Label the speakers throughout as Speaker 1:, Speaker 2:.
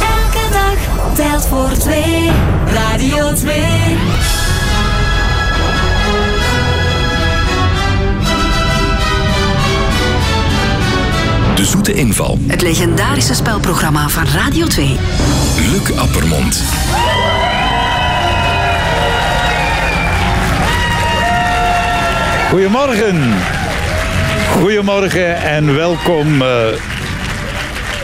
Speaker 1: Elke dag telt voor twee. Radio 2.
Speaker 2: De zoete inval.
Speaker 3: Het legendarische spelprogramma van Radio 2.
Speaker 2: Luc Appermond.
Speaker 4: Goedemorgen. Goedemorgen en welkom. eh.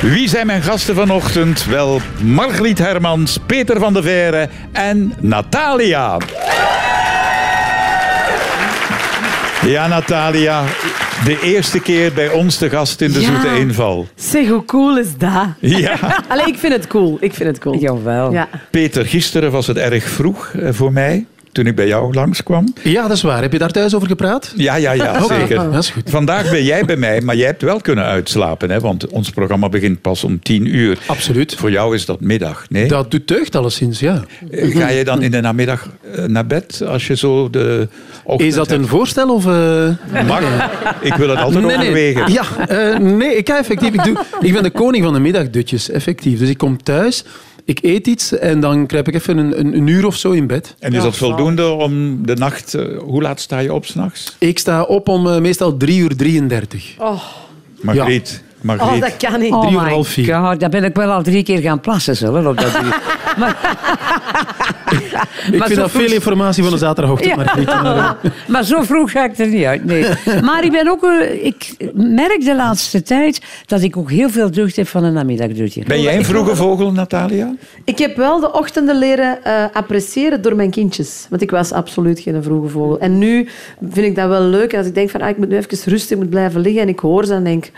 Speaker 4: wie zijn mijn gasten vanochtend? Wel, Margriet Hermans, Peter van der Veere en Natalia. Ja, Natalia, de eerste keer bij ons te gast in de
Speaker 5: Ja.
Speaker 4: Zoete Inval.
Speaker 5: Zeg, hoe cool is dat?
Speaker 4: Ja.
Speaker 5: Allee, ik vind het cool. Ik vind het cool.
Speaker 6: Jawel.
Speaker 5: Ja.
Speaker 4: Peter, gisteren was het erg vroeg eh, voor mij, toen ik bij jou langskwam.
Speaker 7: Ja, dat is waar. Heb je daar thuis over gepraat?
Speaker 4: Ja, ja, ja, zeker.
Speaker 7: Dat is goed.
Speaker 4: Vandaag ben jij bij mij, maar jij hebt wel kunnen uitslapen, hè? want ons programma begint pas om tien uur.
Speaker 7: Absoluut.
Speaker 4: Voor jou is dat middag, nee?
Speaker 7: Dat doet deugd alleszins, ja.
Speaker 4: Eh, Ga je dan in de namiddag eh, naar bed als je zo de ochtend
Speaker 7: Is dat een
Speaker 4: hebt?
Speaker 7: voorstel of... eh,
Speaker 4: Mag? Ik wil het altijd overwegen.
Speaker 7: Ja, eh, nee, ik ga effectief. Ik, doe, ik ben de koning van de middagdutjes, effectief. Dus ik kom thuis, ik eet iets en dan krijg ik even een, een, een uur of zo in bed.
Speaker 4: En is dat voldoende om de nacht... eh, hoe laat sta je op s'nachts?
Speaker 7: Ik sta op om eh, meestal 3 uur 33.
Speaker 4: Margriet,
Speaker 5: Oh,
Speaker 4: Margriet.
Speaker 5: dat kan niet.
Speaker 6: Oh
Speaker 7: Drie uur
Speaker 6: my
Speaker 7: half vier.
Speaker 6: God, daar ben ik wel al drie keer gaan plassen zullen op dat uur.
Speaker 7: Ik
Speaker 6: Maar
Speaker 7: vind
Speaker 6: zo
Speaker 7: dat veel
Speaker 6: vroeg-
Speaker 7: informatie van een zaterdagochtend,
Speaker 6: Ja.
Speaker 7: maar niet. Maar, eh,
Speaker 6: Maar zo vroeg ga ik er niet uit, nee. Maar ik ben ook... eh, Ik merk de laatste tijd dat ik ook heel veel deugd heb van een namiddagdutje.
Speaker 4: Ben jij een vroege vogel, Natalia?
Speaker 5: Ik heb wel de ochtenden leren eh, appreciëren door mijn kindjes. Want ik was absoluut geen vroege vogel. En nu vind ik dat wel leuk. En als ik denk van, ah, ik moet nu even rustig, ik moet blijven liggen. En ik hoor ze en denk,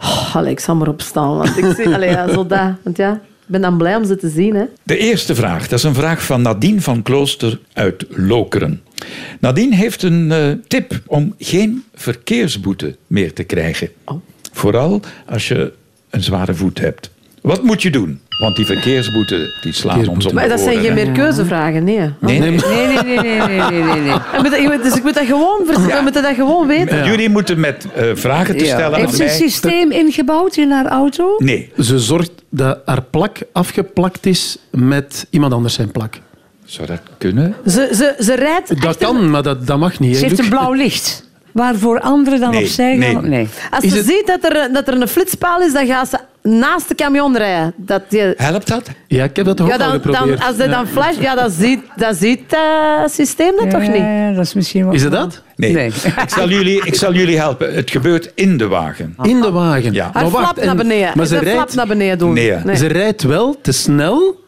Speaker 5: oh, allee, ik zal maar opstaan. Want ik zie, allee, ja, zo dat. Want ja, ik ben dan blij om ze te zien, hè.
Speaker 4: De eerste vraag, dat is een vraag van Nadine van Klooster uit Lokeren. Nadine heeft een eh, tip om geen verkeersboete meer te krijgen.
Speaker 5: Oh.
Speaker 4: Vooral als je een zware voet hebt. Wat moet je doen? Want die verkeersboete die slaan ons
Speaker 7: Verkeersboete.
Speaker 4: om de
Speaker 5: Maar dat zijn
Speaker 4: oren,
Speaker 5: geen
Speaker 4: hè.
Speaker 5: meer Oh. keuzevragen, nee.
Speaker 4: Nee, nee.
Speaker 6: Nee, nee, nee, nee, nee, nee, nee, nee.
Speaker 5: Ik moet dat- Dus ik moet dat gewoon, vertellen. we moeten dat gewoon weten.
Speaker 4: Jullie moeten met eh, vragen te
Speaker 6: Ja.
Speaker 4: stellen
Speaker 6: Heeft
Speaker 4: aan
Speaker 6: ze een
Speaker 4: mij.
Speaker 6: systeem ingebouwd in haar auto?
Speaker 4: Nee,
Speaker 7: Ze zorgt dat haar plak afgeplakt is met iemand anders zijn plak.
Speaker 4: zou dat kunnen?
Speaker 5: Ze, ze, ze rijdt
Speaker 7: Dat
Speaker 5: achter-
Speaker 7: kan, maar dat, dat mag niet. hè,
Speaker 6: Ze heeft
Speaker 7: Luc?
Speaker 6: een blauw licht. Waarvoor anderen dan
Speaker 4: Nee,
Speaker 6: opzij gaan?
Speaker 4: nee.
Speaker 6: Nee.
Speaker 5: Als
Speaker 7: Is
Speaker 5: ze
Speaker 7: het-
Speaker 5: ziet dat er, dat er een flitspaal is, dan gaat ze naast de camion rijden. Dat je,
Speaker 4: Helpt dat?
Speaker 7: Ja, ik heb dat toch ook
Speaker 5: ja,
Speaker 7: al
Speaker 5: dan,
Speaker 7: geprobeerd.
Speaker 5: dan, als dat
Speaker 7: Ja.
Speaker 5: dan flash, ja, dan ziet dat ziet, eh, systeem dat toch
Speaker 6: Ja,
Speaker 5: niet?
Speaker 6: ja, dat is misschien wel...
Speaker 7: Is het dat?
Speaker 4: Nee.
Speaker 6: Nee.
Speaker 4: Ik, zal jullie, ik zal jullie helpen. Het gebeurt in de wagen.
Speaker 7: In de wagen.
Speaker 4: Ja.
Speaker 5: Haar flap
Speaker 7: en-
Speaker 5: naar beneden.
Speaker 7: Maar
Speaker 5: Ze
Speaker 7: ze
Speaker 5: flap
Speaker 7: rijdt,
Speaker 5: naar beneden doen.
Speaker 4: Nee, ja.
Speaker 7: ze rijdt wel te snel,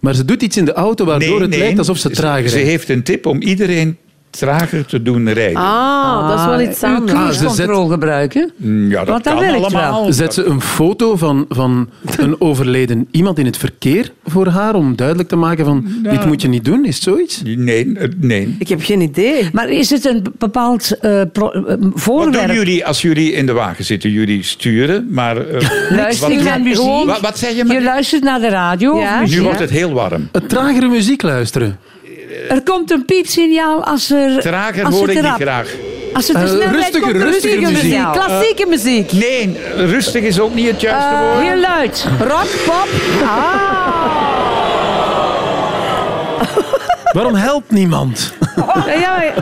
Speaker 7: maar ze doet iets in de auto waardoor het lijkt alsof ze trager
Speaker 4: Ze
Speaker 7: rijdt.
Speaker 4: heeft een tip om iedereen trager te doen rijden.
Speaker 5: Ah, dat is wel iets
Speaker 6: Ah, uw
Speaker 5: anders.
Speaker 7: Ah, ze zet-
Speaker 6: cruisecontrole gebruiken.
Speaker 4: Mm, Ja, dat
Speaker 6: Want dat
Speaker 4: kan
Speaker 6: werkt
Speaker 4: allemaal.
Speaker 7: Zet ze een foto van, van een overleden iemand in het verkeer voor haar om duidelijk te maken van dit moet je niet doen, is het zoiets?
Speaker 4: Nee, eh, nee.
Speaker 5: Ik heb geen idee.
Speaker 6: Maar is het een bepaald eh, pro- eh,
Speaker 4: Wat doen
Speaker 6: voorwerp?
Speaker 4: jullie als jullie in de wagen zitten? Jullie sturen, maar... eh,
Speaker 6: Luister
Speaker 4: wat,
Speaker 6: je naar
Speaker 4: wat-
Speaker 6: muziek?
Speaker 4: Wat, wat zei je?
Speaker 6: Je
Speaker 4: maar?
Speaker 6: luistert naar de radio.
Speaker 5: Ja.
Speaker 6: of muziek.
Speaker 4: Nu wordt het heel warm.
Speaker 7: Het tragere muziek luisteren.
Speaker 6: Er komt een piepsignaal als er...
Speaker 4: Trager
Speaker 6: als
Speaker 4: hoor ik
Speaker 6: het te
Speaker 4: niet
Speaker 6: rap-
Speaker 4: graag.
Speaker 6: Als het te
Speaker 7: Eh,
Speaker 6: snel rijdt,
Speaker 7: rustiger,
Speaker 6: komt er een
Speaker 7: rustiger
Speaker 6: piepsignaal.
Speaker 7: muziek.
Speaker 5: Muziek, klassieke muziek.
Speaker 4: Nee, rustig is ook niet het juiste woord.
Speaker 6: Heel luid.
Speaker 5: Rock, pop.
Speaker 6: Ah.
Speaker 7: Waarom helpt niemand?
Speaker 5: Ja, maar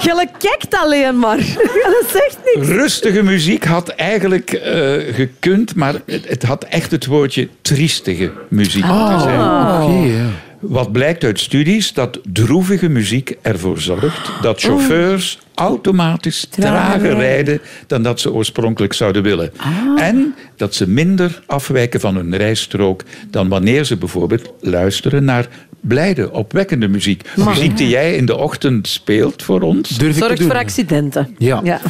Speaker 5: je kijkt alleen maar. Dat zegt niks.
Speaker 4: Rustige muziek had eigenlijk eh, gekund, maar het, het had echt het woordje triestige muziek moeten zijn.
Speaker 7: Oh, oké, ja.
Speaker 4: Wat blijkt uit studies dat droevige muziek ervoor zorgt dat chauffeurs automatisch trager rijden Ah. dan dat ze oorspronkelijk zouden willen. En dat ze minder afwijken van hun rijstrook dan wanneer ze bijvoorbeeld luisteren naar blijde, opwekkende muziek. muziek die jij in de ochtend speelt voor ons.
Speaker 7: Durf ik te
Speaker 5: Zorgt
Speaker 7: doen.
Speaker 5: voor accidenten.
Speaker 7: Ja. Oh.
Speaker 5: Ja.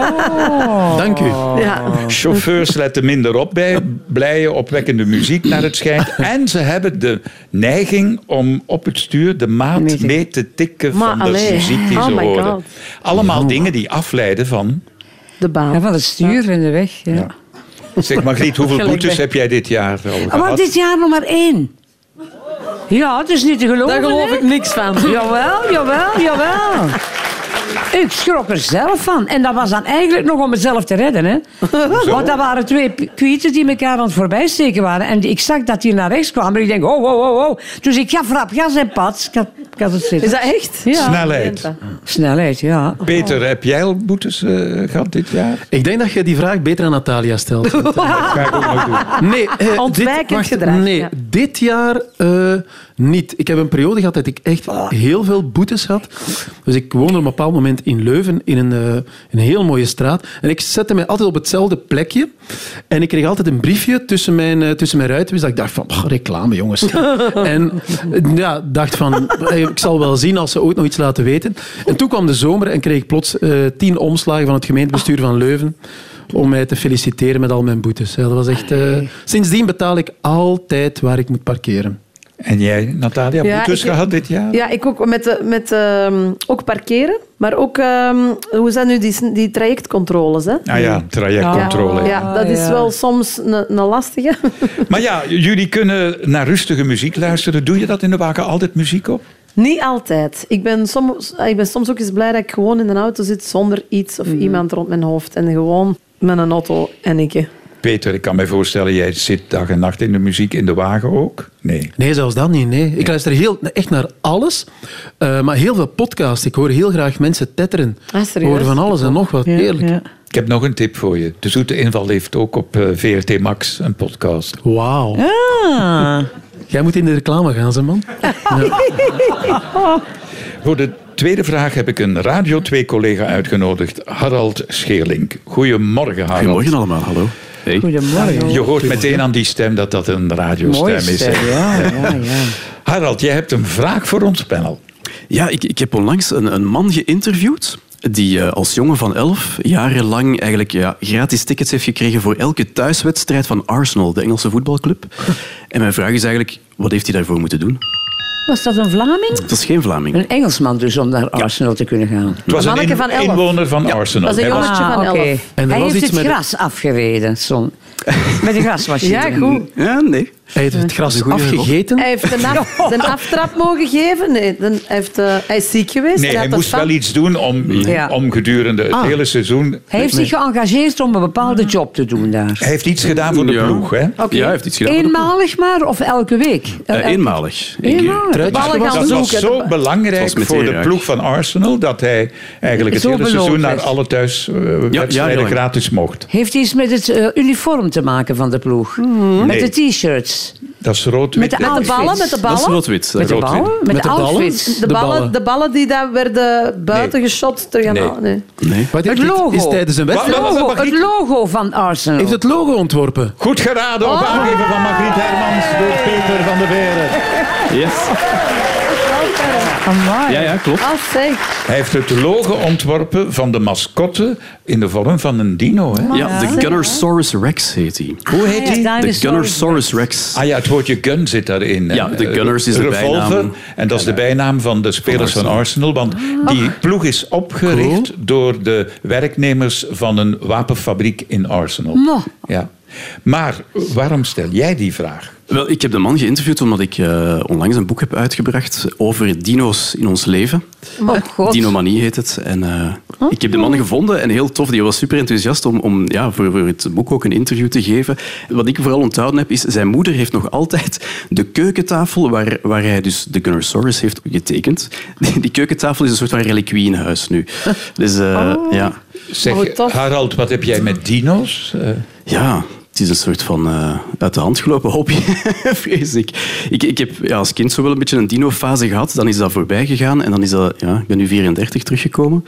Speaker 5: Oh.
Speaker 7: Dank u.
Speaker 5: ja.
Speaker 4: Chauffeurs letten minder op bij blije, opwekkende muziek naar het schijnt. En ze hebben de neiging om op het stuur de maat mee te tikken van
Speaker 5: Maar
Speaker 4: de
Speaker 5: allee.
Speaker 4: muziek die
Speaker 5: Oh
Speaker 4: ze
Speaker 5: my
Speaker 4: horen.
Speaker 5: God. Nou.
Speaker 4: Allemaal dingen die afleiden van...
Speaker 5: De baan.
Speaker 6: Ja, van het stuur en de weg. Ja.
Speaker 4: Zeg Margriet, hoeveel
Speaker 5: Gelijk
Speaker 4: boetes
Speaker 5: bij-
Speaker 4: heb jij dit jaar al
Speaker 6: Ah, Maar
Speaker 4: gehad?
Speaker 6: dit jaar nog maar één. Ja, het is niet te geloven.
Speaker 5: Daar geloof
Speaker 6: hè?
Speaker 5: ik niks van.
Speaker 6: Jawel, jawel, jawel. Ik schrok er zelf van. En dat was dan eigenlijk nog om mezelf te redden. Hè. Want dat waren twee p- kwieten die elkaar aan het voorbijsteken waren. En die- ik zag dat die naar rechts kwamen. En ik denk, oh, oh, oh, oh. Dus ik gaf rap gas en pats. Ik had, ik had het zitten.
Speaker 5: Is dat echt?
Speaker 6: Ja.
Speaker 4: Snelheid.
Speaker 6: Snelheid, ja.
Speaker 4: Peter, heb jij al boetes eh, gehad dit jaar?
Speaker 7: Ik denk dat je die vraag beter aan Natalia stelt.
Speaker 5: Ah.
Speaker 4: Dat ga ik ook nog doen.
Speaker 7: Nee, eh,
Speaker 5: Ontwijkend
Speaker 7: dit, wacht,
Speaker 5: gedrag,
Speaker 7: Nee,
Speaker 5: ja.
Speaker 7: dit jaar eh, niet. Ik heb een periode gehad dat ik echt heel veel boetes had. Dus ik woonde op een bepaald moment in Leuven, in een, eh, een heel mooie straat. En ik zette mij altijd op hetzelfde plekje. En ik kreeg altijd een briefje tussen mijn, eh, tussen mijn ruiten. Dus dat ik dacht van, "Pff, reclame jongens. en eh, ja, dacht van, eh, ik zal wel zien als ze ooit nog iets laten weten. En toen kwam de zomer en kreeg ik plots eh, tien omslagen van het gemeentebestuur van Leuven om mij te feliciteren met al mijn boetes. Ja, dat was echt, eh, sindsdien betaal ik altijd waar ik moet parkeren.
Speaker 4: En jij, Natalia,
Speaker 5: Ja,
Speaker 4: boetes
Speaker 5: ik-
Speaker 4: gehad dit jaar?
Speaker 5: Ja, ik ook met, de- met ehm, ook parkeren. Maar ook, ehm, hoe zijn nu die, sn- die trajectcontroles? Hè?
Speaker 4: Ah ja, trajectcontrole.
Speaker 5: Ja, ja, dat is
Speaker 6: ja.
Speaker 5: wel soms een, een lastige.
Speaker 4: Maar ja, jullie kunnen naar rustige muziek luisteren. Doe je dat in de wagen altijd muziek op?
Speaker 5: Niet altijd. Ik ben, soms, ik ben soms ook eens blij dat ik gewoon in een auto zit zonder iets of iemand rond mijn hoofd. En gewoon met een auto en ik.
Speaker 4: Peter, ik kan me voorstellen, jij zit dag en nacht in de muziek in de wagen ook? Nee.
Speaker 7: Nee, zelfs dat niet. Nee. Ik luister heel, echt naar alles, eh, maar heel veel podcasts. Ik hoor heel graag mensen tetteren.
Speaker 5: Ah,
Speaker 7: Ik
Speaker 5: serieus?
Speaker 7: hoor van alles en nog wat.
Speaker 6: Ja,
Speaker 7: Heerlijk.
Speaker 6: ja.
Speaker 4: Ik heb nog een tip voor je. De Zoete Inval heeft ook op eh, VRT Max een podcast.
Speaker 7: Wauw.
Speaker 6: Ah.
Speaker 7: Jij moet in de reclame gaan, ze man.
Speaker 4: Voor de tweede vraag heb ik een Radio 2-collega uitgenodigd, Harald Scheerlink. Goedemorgen, Harald.
Speaker 8: Goedemorgen allemaal, hallo. Hey.
Speaker 6: Goedemorgen.
Speaker 4: Je hoort meteen aan die stem dat dat een radiostem
Speaker 6: Mooie
Speaker 4: is.
Speaker 6: stem,
Speaker 4: hè?
Speaker 6: ja, ja, ja.
Speaker 4: Harald, jij hebt een vraag voor ons panel.
Speaker 8: Ja, ik, ik heb onlangs een, een man geïnterviewd die eh, als jongen van elf jarenlang eigenlijk ja, gratis tickets heeft gekregen voor elke thuiswedstrijd van Arsenal, de Engelse voetbalclub. En mijn vraag is eigenlijk, wat heeft hij daarvoor moeten doen?
Speaker 6: Was dat een Vlaming?
Speaker 8: Het is geen Vlaming.
Speaker 6: Een Engelsman dus, om naar Arsenal te kunnen gaan.
Speaker 4: Het was een
Speaker 5: manneke
Speaker 4: in-
Speaker 5: van elf.
Speaker 4: inwoner van Arsenal.
Speaker 5: Dat is een
Speaker 4: Hij was-
Speaker 5: jongetje van
Speaker 6: oké.
Speaker 5: elf.
Speaker 7: En er
Speaker 6: Hij
Speaker 7: was
Speaker 6: heeft
Speaker 7: iets
Speaker 6: het
Speaker 7: met-
Speaker 6: gras afgereden, Son. Met de grasmachine.
Speaker 5: Ja, goed.
Speaker 8: Ja, nee.
Speaker 7: Hij heeft het gras afgegeten.
Speaker 5: Hij heeft een, af- een aftrap mogen geven. Nee, dan- hij, heeft, eh, hij is ziek geweest.
Speaker 4: Nee,
Speaker 5: had
Speaker 4: hij
Speaker 5: dat
Speaker 4: moest
Speaker 5: van- Ah.
Speaker 4: wel iets doen om,
Speaker 6: Ja.
Speaker 4: om gedurende het hele seizoen...
Speaker 6: Hij heeft zich geëngageerd om een bepaalde job te doen daar.
Speaker 4: Hij heeft iets gedaan voor de
Speaker 8: Ja.
Speaker 4: ploeg, hè?
Speaker 8: Ja, hij heeft iets gedaan.
Speaker 6: Eenmalig maar of elke week?
Speaker 8: Eh,
Speaker 6: Elke-
Speaker 8: eenmalig. Eén keer.
Speaker 6: Eenmalig.
Speaker 7: Truitjes
Speaker 5: Ballen
Speaker 7: gewassen.
Speaker 5: gaan
Speaker 4: Dat was
Speaker 5: zoeken.
Speaker 4: zo
Speaker 8: Het was
Speaker 4: belangrijk
Speaker 8: meteen
Speaker 4: voor de
Speaker 8: raak.
Speaker 4: ploeg van Arsenal dat hij eigenlijk het
Speaker 6: Zo
Speaker 4: hele
Speaker 6: beloond
Speaker 4: seizoen naar
Speaker 6: werd.
Speaker 4: alle
Speaker 8: ja,
Speaker 4: thuiswedstrijden
Speaker 8: heel erg.
Speaker 4: gratis mocht.
Speaker 6: Heeft iets met het eh, uniform te maken van de ploeg? Met
Speaker 4: Hmm. Nee.
Speaker 6: de t-shirts?
Speaker 4: Dat is rood
Speaker 6: Met de
Speaker 5: Met de
Speaker 6: outfits?
Speaker 5: ballen, met de
Speaker 8: Dat is
Speaker 5: ballen.
Speaker 8: rood-wit.
Speaker 6: Met de
Speaker 8: Rood-wit.
Speaker 6: ballen? Met,
Speaker 7: Met
Speaker 6: de
Speaker 7: de ballen?
Speaker 6: outfits?
Speaker 5: De
Speaker 7: De
Speaker 5: ballen,
Speaker 7: ballen.
Speaker 5: de ballen die daar werden buiten
Speaker 4: Nee.
Speaker 5: geschot. Terug aan
Speaker 4: Nee.
Speaker 5: al- nee.
Speaker 8: Nee.
Speaker 7: Wat
Speaker 6: Het
Speaker 7: heeft hij-
Speaker 6: logo.
Speaker 7: Is tijdens een
Speaker 6: Het
Speaker 7: wedstrijd?
Speaker 4: Wat- wat-
Speaker 6: logo,
Speaker 4: wat-
Speaker 6: het logo van Arsenal.
Speaker 7: Heeft het logo ontworpen?
Speaker 4: Goed geraden
Speaker 6: Oh.
Speaker 4: op aangeven van Margriet Hermans door Peter van der Veren.
Speaker 8: Yes.
Speaker 6: Amai.
Speaker 8: Ja, ja, klopt.
Speaker 5: Ah, zeg.
Speaker 4: Hij heeft het logo ontworpen van de mascotte in de vorm van een dino. Hè?
Speaker 8: Ja, de Gunnersaurus Rex heet hij.
Speaker 4: Hoe heet die?
Speaker 6: Ja,
Speaker 8: De
Speaker 6: dinosaurus.
Speaker 8: Gunnersaurus Rex.
Speaker 4: Ah ja, het woordje gun zit daarin. hè.
Speaker 8: Ja, de
Speaker 4: Eh,
Speaker 8: Gunners is de
Speaker 4: revolver,
Speaker 8: bijnaam.
Speaker 4: En dat is de bijnaam van de spelers van Arsenal. Want die ploeg is opgericht door de werknemers van een wapenfabriek in Arsenal.
Speaker 6: Mo.
Speaker 4: Ja. Maar waarom stel jij die vraag?
Speaker 8: Wel, ik heb de man geïnterviewd omdat ik eh, onlangs een boek heb uitgebracht over dino's in ons leven.
Speaker 6: Oh, God.
Speaker 8: Dinomanie heet het. En eh, ik heb de man gevonden en heel tof. Die was super enthousiast om, om ja, voor, voor het boek ook een interview te geven. Wat ik vooral onthouden heb, is zijn moeder heeft nog altijd de keukentafel waar, waar hij dus de Gunnersaurus heeft getekend. Die, die keukentafel is een soort van reliquie in huis nu. Dus eh, ja.
Speaker 4: Zeg,
Speaker 5: Oh, tof.
Speaker 4: Harald, wat heb jij met dino's? Eh,
Speaker 8: Ja, het is een soort van eh, uit de hand gelopen hobby, vrees ik. Ik, ik heb ja, als kind zo wel een beetje een dino-fase gehad. Dan is dat voorbij gegaan en dan is dat... Ja, ik ben nu 34 teruggekomen.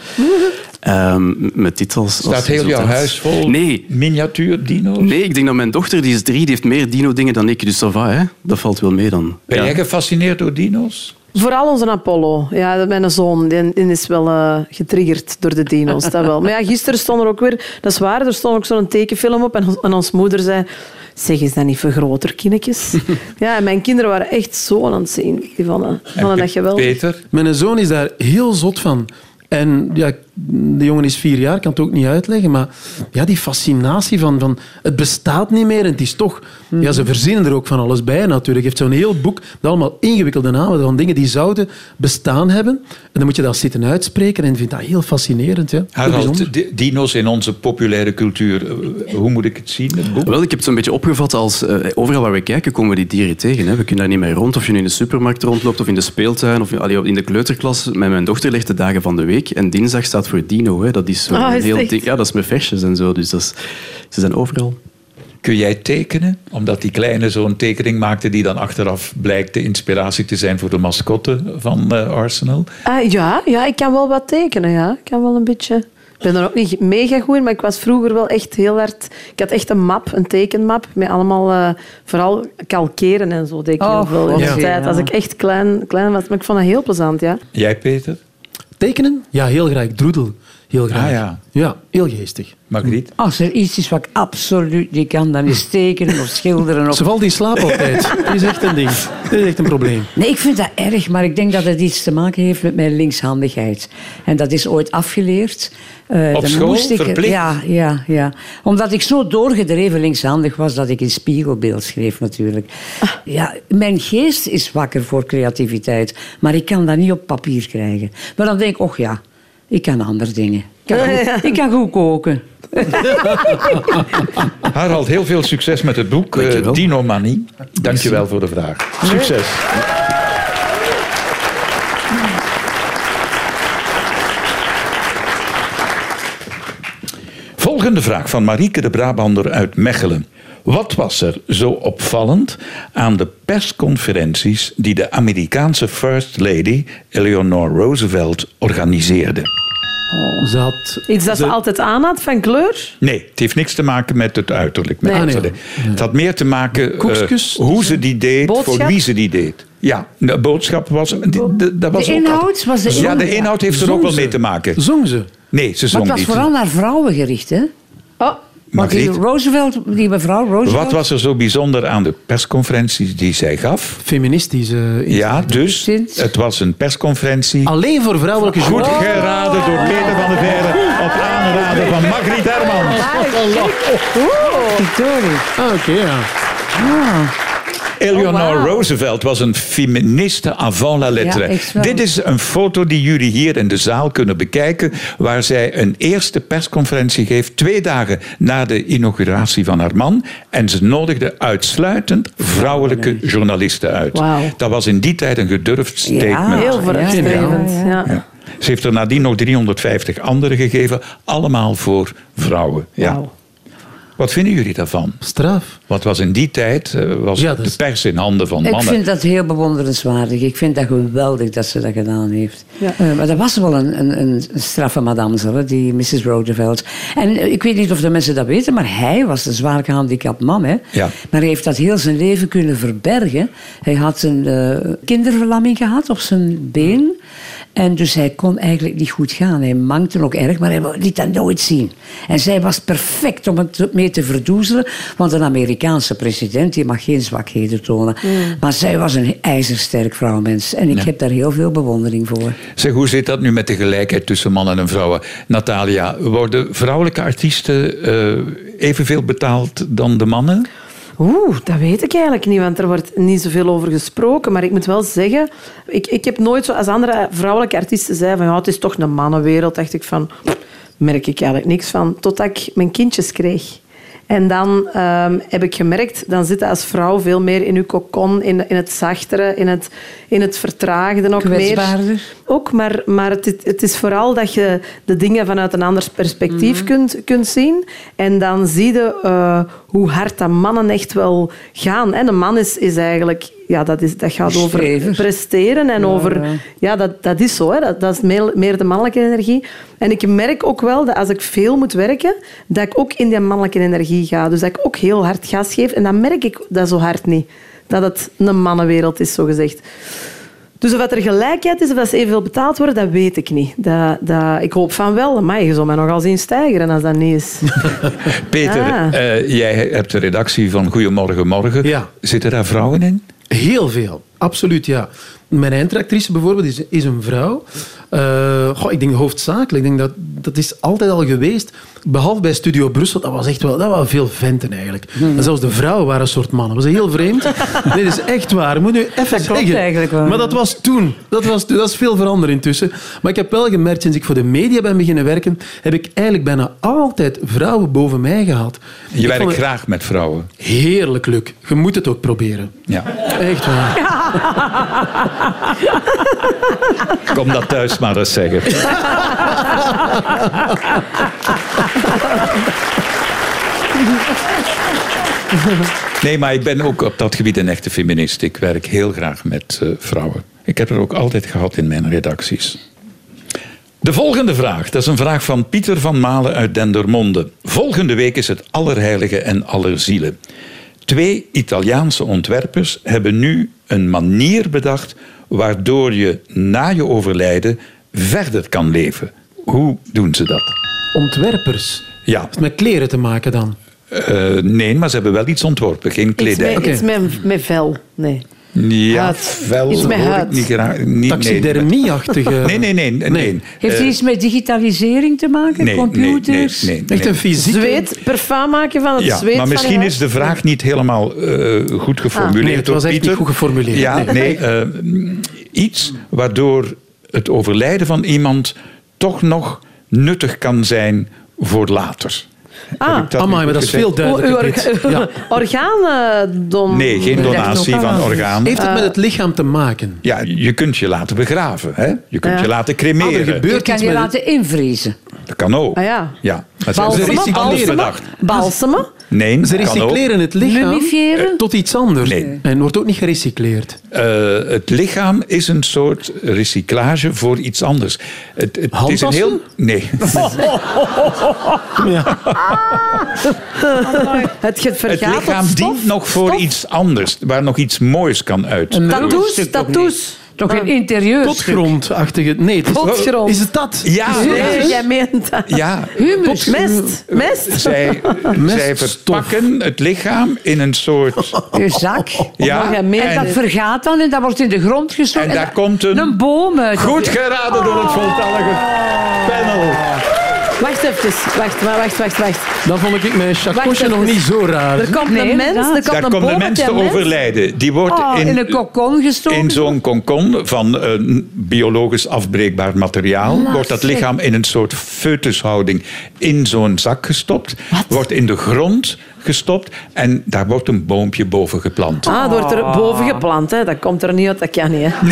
Speaker 8: Ehm, met dit als... als
Speaker 4: staat heel jouw
Speaker 8: resultaat.
Speaker 4: huis vol
Speaker 8: Nee.
Speaker 4: miniatuur dino's?
Speaker 8: Nee, ik denk dat mijn dochter, die is drie, die heeft meer dino-dingen dan ik. Dus ça va, hè. dat valt wel mee dan.
Speaker 4: Ben
Speaker 8: Ja.
Speaker 4: jij gefascineerd door dino's?
Speaker 5: Vooral onze Apollo. Ja, mijn zoon die, die is wel eh, getriggerd door de dino's. Dat wel. Maar ja, gisteren stond er ook weer... Dat is waar, er stond ook zo'n tekenfilm op. En, ons- en ons moeder zei... Zeg, is dat niet voor groter, kindjes? ja, en mijn kinderen waren echt zo aan het eh, zien. Die vonden, vonden dat geweldig.
Speaker 4: Peter?
Speaker 7: Mijn zoon is daar heel zot van. En ja, de jongen is vier jaar, kan het ook niet uitleggen. Maar ja, die fascinatie van, van het bestaat niet meer en het is toch... Ja, ze verzinnen er ook van alles bij natuurlijk. Je hebt zo'n heel boek met allemaal ingewikkelde namen van dingen die zouden bestaan hebben. En dan moet je dat zitten uitspreken en ik vind dat heel fascinerend. Ja. Heel bijzonder.
Speaker 4: Harald, di- dino's in onze populaire cultuur. eh, Hoe moet ik het zien, het boek?
Speaker 8: Wel, ik heb het een beetje opgevat als eh, overal waar we kijken komen we die dieren tegen. Hè. We kunnen daar niet meer rond. Of je nu in de supermarkt rondloopt, of in de speeltuin, of in, allee, in de kleuterklas. Met mijn dochter ligt de dagen van de week. En dinsdag staat voor dino. Hè. Dat is zo'n
Speaker 5: Ah, is het
Speaker 8: heel
Speaker 5: echt?
Speaker 8: dik. Ja, dat is met versjes en zo. Dus dat is, ze zijn overal.
Speaker 4: Kun jij tekenen? Omdat die kleine zo'n tekening maakte die dan achteraf blijkt de inspiratie te zijn voor de mascotte van eh, Arsenal.
Speaker 5: Ah, ja, ja, ik kan wel wat tekenen. Ja. Ik kan wel een beetje... Ik ben er ook niet mega goed in, maar ik was vroeger wel echt heel hard... Ik had echt een map, een tekenmap, met allemaal... eh, vooral kalkeren en zo deed ik heel
Speaker 6: Oh,
Speaker 5: veel in
Speaker 6: ja.
Speaker 5: de tijd.
Speaker 6: Ja.
Speaker 5: Als ik echt klein, klein was. Maar ik vond dat heel plezant, ja.
Speaker 4: Jij, Peter?
Speaker 7: Tekenen? Ja, heel graag. Droedel. Heel graag.
Speaker 4: Ah, ja.
Speaker 7: ja, heel geestig.
Speaker 4: Margriet?
Speaker 6: Als er iets is wat ik absoluut niet kan, dan is tekenen of schilderen. Of...
Speaker 7: Ze valt in slaap altijd. Dat is echt een ding. Dat is echt een probleem.
Speaker 6: Nee, ik vind dat erg, maar ik denk dat het iets te maken heeft met mijn linkshandigheid. En dat is ooit afgeleerd. Eh,
Speaker 4: Op
Speaker 6: dan
Speaker 4: school?
Speaker 6: moest ik,
Speaker 4: Verplicht?
Speaker 6: Ja, ja, ja. Omdat ik zo doorgedreven linkshandig was dat ik in spiegelbeeld schreef natuurlijk.
Speaker 4: Ah.
Speaker 6: Ja, mijn geest is wakker voor creativiteit, maar ik kan dat niet op papier krijgen. Maar dan denk ik, och ja, ik kan andere dingen. Ik kan goed, ik kan goed koken.
Speaker 4: Harald, heel veel succes met het boek
Speaker 8: Dankjewel.
Speaker 4: eh Dino Manie. Dank je wel voor de vraag. Succes. Volgende vraag van Marieke de Brabander uit Mechelen. Wat was er zo opvallend aan de persconferenties die de Amerikaanse First Lady Eleanor Roosevelt organiseerde?
Speaker 7: Ze had...
Speaker 5: Iets dat ze altijd aan had van kleur.
Speaker 4: Nee, het heeft niks te maken met het uiterlijk. Met
Speaker 5: Nee.
Speaker 4: het
Speaker 7: Ah, nee.
Speaker 4: uiterlijk. Het had meer te maken eh,
Speaker 7: Koekjes?
Speaker 4: hoe ze die deed, voor
Speaker 5: Boodschap?
Speaker 4: wie ze die deed. Ja, de boodschap was... die- de, dat was
Speaker 6: De
Speaker 4: ook
Speaker 6: inhoud
Speaker 4: altijd-
Speaker 6: was de
Speaker 4: Ja, de
Speaker 6: inhoud.
Speaker 4: inhoud heeft er
Speaker 7: Zong
Speaker 4: ook wel
Speaker 7: ze?
Speaker 4: mee te maken.
Speaker 7: Zong ze?
Speaker 4: Nee, ze
Speaker 6: Maar
Speaker 4: zong
Speaker 6: het was
Speaker 4: niet.
Speaker 6: vooral naar vrouwen gericht, hè?
Speaker 5: Oh,
Speaker 6: Want die
Speaker 4: Margriet,
Speaker 6: Roosevelt, die mevrouw Roosevelt...
Speaker 4: wat was er zo bijzonder aan de persconferentie die zij gaf?
Speaker 7: Feministische... iets.
Speaker 4: Ja, dus
Speaker 6: Sinds- Oh.
Speaker 4: het was een persconferentie...
Speaker 7: Alleen voor vrouwelijke
Speaker 4: Goed
Speaker 7: journalisten.
Speaker 4: geraden door Peter van der Veer op aanraden van Margriet Hermans.
Speaker 6: Oh,
Speaker 7: Ah, oké, ja.
Speaker 4: Eleanor
Speaker 6: Oh, wauw.
Speaker 4: Roosevelt was een feministe avant la lettre.
Speaker 6: Ja, echt wel.
Speaker 4: Dit is een foto die jullie hier in de zaal kunnen bekijken, waar zij een eerste persconferentie geeft, twee dagen na de inauguratie van haar man. En ze nodigde uitsluitend vrouwelijke
Speaker 6: Oh,
Speaker 4: journalisten uit.
Speaker 5: Wauw.
Speaker 4: Dat was in die tijd een gedurfd statement.
Speaker 5: heel vooruitstrevend.
Speaker 6: Ja,
Speaker 5: Ja,
Speaker 6: ja, ja.
Speaker 4: Ja. Ze heeft er nadien nog 350 anderen gegeven, allemaal voor vrouwen. Ja. Wat vinden jullie daarvan?
Speaker 7: Straf.
Speaker 4: Want was in die tijd eh, was
Speaker 7: Ja, dat
Speaker 4: de
Speaker 7: is-
Speaker 4: pers in handen van mannen.
Speaker 6: Ik vind dat heel bewonderenswaardig. Ik vind dat geweldig dat ze dat gedaan heeft.
Speaker 5: Ja.
Speaker 6: Eh, maar dat was wel een, een, een straffe madamsel, hè, die Mrs. Roosevelt. En eh, ik weet niet of de mensen dat weten, maar hij was een zwaar gehandicapt man. Hè?
Speaker 4: Ja.
Speaker 6: Maar hij heeft dat heel zijn leven kunnen verbergen. Hij had een eh, kinderverlamming gehad op zijn been. En dus hij kon eigenlijk niet goed gaan. Hij mankte ook erg, maar hij liet dat nooit zien. En zij was perfect om het mee te verdoezelen. Want een Amerikaanse president die mag geen zwakheden tonen.
Speaker 4: Hmm.
Speaker 6: Maar zij was een ijzersterk vrouwmens. En ik heb daar heel veel bewondering voor.
Speaker 4: Zeg, hoe zit dat nu met de gelijkheid tussen mannen en vrouwen? Natalia, worden vrouwelijke artiesten eh, evenveel betaald dan de mannen?
Speaker 5: Oeh, dat weet ik eigenlijk niet, want er wordt niet zoveel over gesproken. Maar ik moet wel zeggen, ik, ik heb nooit zo, als andere vrouwelijke artiesten zeiden van ja, het is toch een mannenwereld, dacht ik van, pff, merk ik eigenlijk niks van, totdat ik mijn kindjes kreeg. En dan ehm, heb ik gemerkt, dan zit je als vrouw veel meer in je cocon, in, in het zachtere, in het, in het vertraagde ook meer.
Speaker 6: Kwetsbaarder.
Speaker 5: Ook, maar, maar het, is- het is vooral dat je de dingen vanuit een anders perspectief kunt, kunt zien. En dan zie je eh, hoe hard dat mannen echt wel gaan. En een man is, is eigenlijk... Ja, dat, is, dat gaat over
Speaker 6: Strever.
Speaker 5: presteren en over...
Speaker 6: ja.
Speaker 5: Ja, dat, dat is zo. Hè. Dat, dat is meer, meer de mannelijke energie. En ik merk ook wel dat als ik veel moet werken, dat ik ook in die mannelijke energie ga. Dus dat ik ook heel hard gas geef. En dan merk ik dat zo hard niet. Dat het een mannenwereld is, zogezegd. Dus of dat er gelijkheid is of dat ze evenveel betaald worden, dat weet ik niet. Dat, dat, ik hoop van wel, maar je zal mij nogal zien stijgeren als dat niet is.
Speaker 4: Peter,
Speaker 5: Ah.
Speaker 4: eh, jij hebt de redactie van Goedemorgen Morgen.
Speaker 7: Ja.
Speaker 4: Zitten daar vrouwen in?
Speaker 7: Heel veel. Absoluut, ja. Mijn eindredactrice bijvoorbeeld is, is een vrouw. Eh, goh, ik denk hoofdzakelijk. Ik denk dat, dat is altijd al geweest. Behalve bij Studio Brussel, dat was echt wel, dat waren veel venten eigenlijk.
Speaker 6: Hmm.
Speaker 7: En zelfs de vrouwen waren een soort mannen. Dat was heel vreemd. Nee, dat is echt waar. Ik Moet nu even
Speaker 6: klopt
Speaker 7: zeggen.
Speaker 6: eigenlijk wel.
Speaker 7: Maar dat was toen. Dat, was, toen. dat is veel veranderd intussen. Maar ik heb wel gemerkt, sinds ik voor de media ben beginnen werken, heb ik eigenlijk bijna altijd vrouwen boven mij gehad.
Speaker 4: Je
Speaker 7: Ik vond
Speaker 4: werkt
Speaker 7: het
Speaker 4: graag met vrouwen.
Speaker 7: Heerlijk leuk. Je moet het ook proberen.
Speaker 4: Ja.
Speaker 7: Echt waar.
Speaker 4: Kom dat thuis maar eens zeggen. Nee, maar ik ben ook op dat gebied een echte feminist. Ik werk heel graag met eh, vrouwen. Ik heb er ook altijd gehad in mijn redacties. De volgende vraag, dat is een vraag van Pieter van Malen uit Dendermonde. Volgende week is het Allerheilige en Allerzielen. Twee Italiaanse ontwerpers hebben nu een manier bedacht waardoor je na je overlijden verder kan leven. Hoe doen ze dat?
Speaker 7: Ontwerpers.
Speaker 4: Ja,
Speaker 7: Heeft met kleren te maken dan?
Speaker 4: eh, nee, maar ze hebben wel iets ontworpen, geen
Speaker 5: Iets
Speaker 4: kledij.
Speaker 5: met, iets met, met vel. Nee.
Speaker 4: Ja,
Speaker 5: Huid.
Speaker 4: vel
Speaker 5: Iets met
Speaker 4: hoor ik
Speaker 5: huid.
Speaker 4: niet graag. Niet,
Speaker 7: Taxidermie-achtige...
Speaker 4: Nee, nee, nee. nee, nee.
Speaker 6: Heeft
Speaker 4: Eh,
Speaker 6: iets met digitalisering te maken?
Speaker 4: nee,
Speaker 6: Computers?
Speaker 4: Nee, nee, nee,
Speaker 7: Echt een
Speaker 4: nee.
Speaker 7: fysieke...
Speaker 5: Zweet, parfum maken van het
Speaker 4: Ja,
Speaker 5: zweet.
Speaker 4: maar
Speaker 5: van
Speaker 4: misschien
Speaker 5: je
Speaker 4: is de vraag niet helemaal eh, goed geformuleerd.
Speaker 7: Ah. Nee, het was
Speaker 4: door
Speaker 7: echt niet
Speaker 4: Pieter.
Speaker 7: goed geformuleerd.
Speaker 4: Ja,
Speaker 7: Nee.
Speaker 4: nee, eh, iets waardoor het overlijden van iemand toch nog nuttig kan zijn voor later.
Speaker 5: Ah.
Speaker 4: Heb ik dat
Speaker 7: Amai,
Speaker 4: nu
Speaker 7: maar dat
Speaker 4: goed
Speaker 7: is
Speaker 4: gezegd?
Speaker 7: veel duidelijker. Piet.
Speaker 5: Orga
Speaker 7: Eh, Ja.
Speaker 5: Orgaandom.
Speaker 4: Nee, geen donatie van orgaan.
Speaker 7: Heeft het met het lichaam te maken?
Speaker 4: Ja, je kunt je laten begraven. Hè? Je kunt
Speaker 5: Ja.
Speaker 4: je laten
Speaker 7: Ah, er
Speaker 4: cremeren.
Speaker 6: Je
Speaker 7: gebeurt
Speaker 6: kan
Speaker 7: iets
Speaker 6: je
Speaker 7: met het-
Speaker 6: laten invriezen.
Speaker 4: Dat kan ook.
Speaker 5: Ah, ja.
Speaker 4: maar ze hebben er
Speaker 5: Balsemen,
Speaker 4: iets anders
Speaker 5: balsemen,
Speaker 7: recycleren.
Speaker 4: bedacht.
Speaker 5: balsemen.
Speaker 4: Nee,
Speaker 7: Ze
Speaker 4: kan ook.
Speaker 7: recycleren het lichaam eh,
Speaker 6: Mummifiëren?
Speaker 7: tot iets anders.
Speaker 4: Nee.
Speaker 7: En wordt ook niet gerecycleerd.
Speaker 4: Eh, het lichaam is een soort recyclage voor iets anders. Het, het is een
Speaker 7: Handtassen?
Speaker 4: heel. Nee.
Speaker 5: Het ge-
Speaker 4: Het
Speaker 5: vergaat
Speaker 4: lichaam
Speaker 5: tot stof.
Speaker 4: dient nog voor
Speaker 5: Stof.
Speaker 4: iets anders, waar nog iets moois kan uit.
Speaker 5: Tattoos, tattoos.
Speaker 6: Toch
Speaker 7: Ah.
Speaker 6: een interieur.
Speaker 7: Potgrondachtige... Nee, het is...
Speaker 5: Potgrond.
Speaker 7: Is het dat?
Speaker 4: Ja,
Speaker 5: Nee,
Speaker 4: ja,
Speaker 5: jij meent dat.
Speaker 4: ja.
Speaker 5: Humus. Mest. Mest.
Speaker 4: Zij, zij
Speaker 7: Meststof.
Speaker 4: verpakken het lichaam in een soort.
Speaker 6: Je zak.
Speaker 4: Ja,
Speaker 5: nog een
Speaker 6: En dat
Speaker 4: en,
Speaker 6: vergaat dan en dat wordt in de grond gestort.
Speaker 4: en daar komt een.
Speaker 6: Een boom uit.
Speaker 4: Goed geraden door het voltallige panel.
Speaker 5: Ah. Wacht even. Wacht, maar wacht, wacht, wacht.
Speaker 7: Dan vond ik mijn
Speaker 5: Wacht
Speaker 7: chacosje
Speaker 5: even.
Speaker 7: nog niet zo raar.
Speaker 5: Er komt
Speaker 6: Nee,
Speaker 5: een mens,
Speaker 6: inderdaad.
Speaker 5: er komt
Speaker 4: Daar
Speaker 5: een
Speaker 4: komt
Speaker 5: boom
Speaker 4: de
Speaker 5: met
Speaker 4: mens te
Speaker 5: een mens. Ah,
Speaker 4: overlijden. Die wordt
Speaker 6: Oh, in,
Speaker 4: in,
Speaker 6: een kokon gestoken.
Speaker 4: in zo'n concon van eh, biologisch afbreekbaar materiaal wordt dat lichaam in een soort foetushouding in zo'n zak gestopt. Wordt in de grond gestopt en daar wordt een boompje boven geplant.
Speaker 5: Ah, het wordt er boven geplant. Hè. Dat komt er niet uit, dat kan niet. Hè.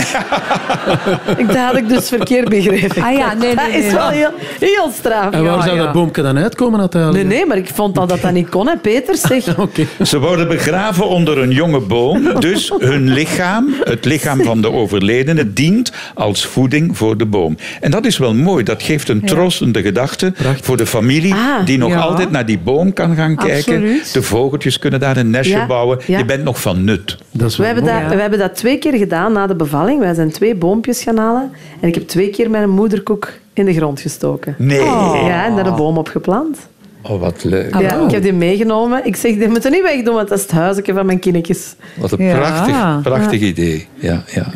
Speaker 5: ik, dat had ik dus verkeerd begrepen.
Speaker 6: Ah ja, nee, nee,
Speaker 5: dat is
Speaker 6: nee.
Speaker 5: wel heel, heel straf.
Speaker 7: En waar
Speaker 6: Ja,
Speaker 7: zou
Speaker 6: ja.
Speaker 7: dat boomke dan uitkomen
Speaker 5: Nee,
Speaker 7: uiteindelijk?
Speaker 5: nee, maar ik vond al dat dat niet kon, hè, Peter. Zeg.
Speaker 7: Oké.
Speaker 4: Ze worden begraven onder een jonge boom. Dus hun lichaam, het lichaam van de overledene, dient als voeding voor de boom. En dat is wel mooi. Dat geeft een troostende gedachte voor de familie
Speaker 5: Ah,
Speaker 4: die nog
Speaker 6: ja.
Speaker 4: altijd naar die boom kan gaan kijken.
Speaker 6: Absoluut.
Speaker 4: De vogeltjes kunnen daar een nestje
Speaker 5: Ja,
Speaker 4: bouwen.
Speaker 5: ja.
Speaker 4: Je bent nog van nut.
Speaker 7: Dat is
Speaker 5: We
Speaker 7: wel
Speaker 5: hebben,
Speaker 7: mooi.
Speaker 5: dat, we hebben dat twee keer gedaan na de bevalling. Wij zijn twee boompjes gaan halen. En ik heb twee keer mijn moederkoek in de grond gestoken.
Speaker 4: Nee. Oh,
Speaker 5: Ja, en daar een boom op geplant.
Speaker 4: wat leuk.
Speaker 5: Ja, ik heb die meegenomen. Ik zeg, die moeten niet wegdoen, want dat is het huisje van mijn kindjes.
Speaker 4: Wat een
Speaker 6: Ja.
Speaker 4: prachtig, prachtig idee. Ja, ja.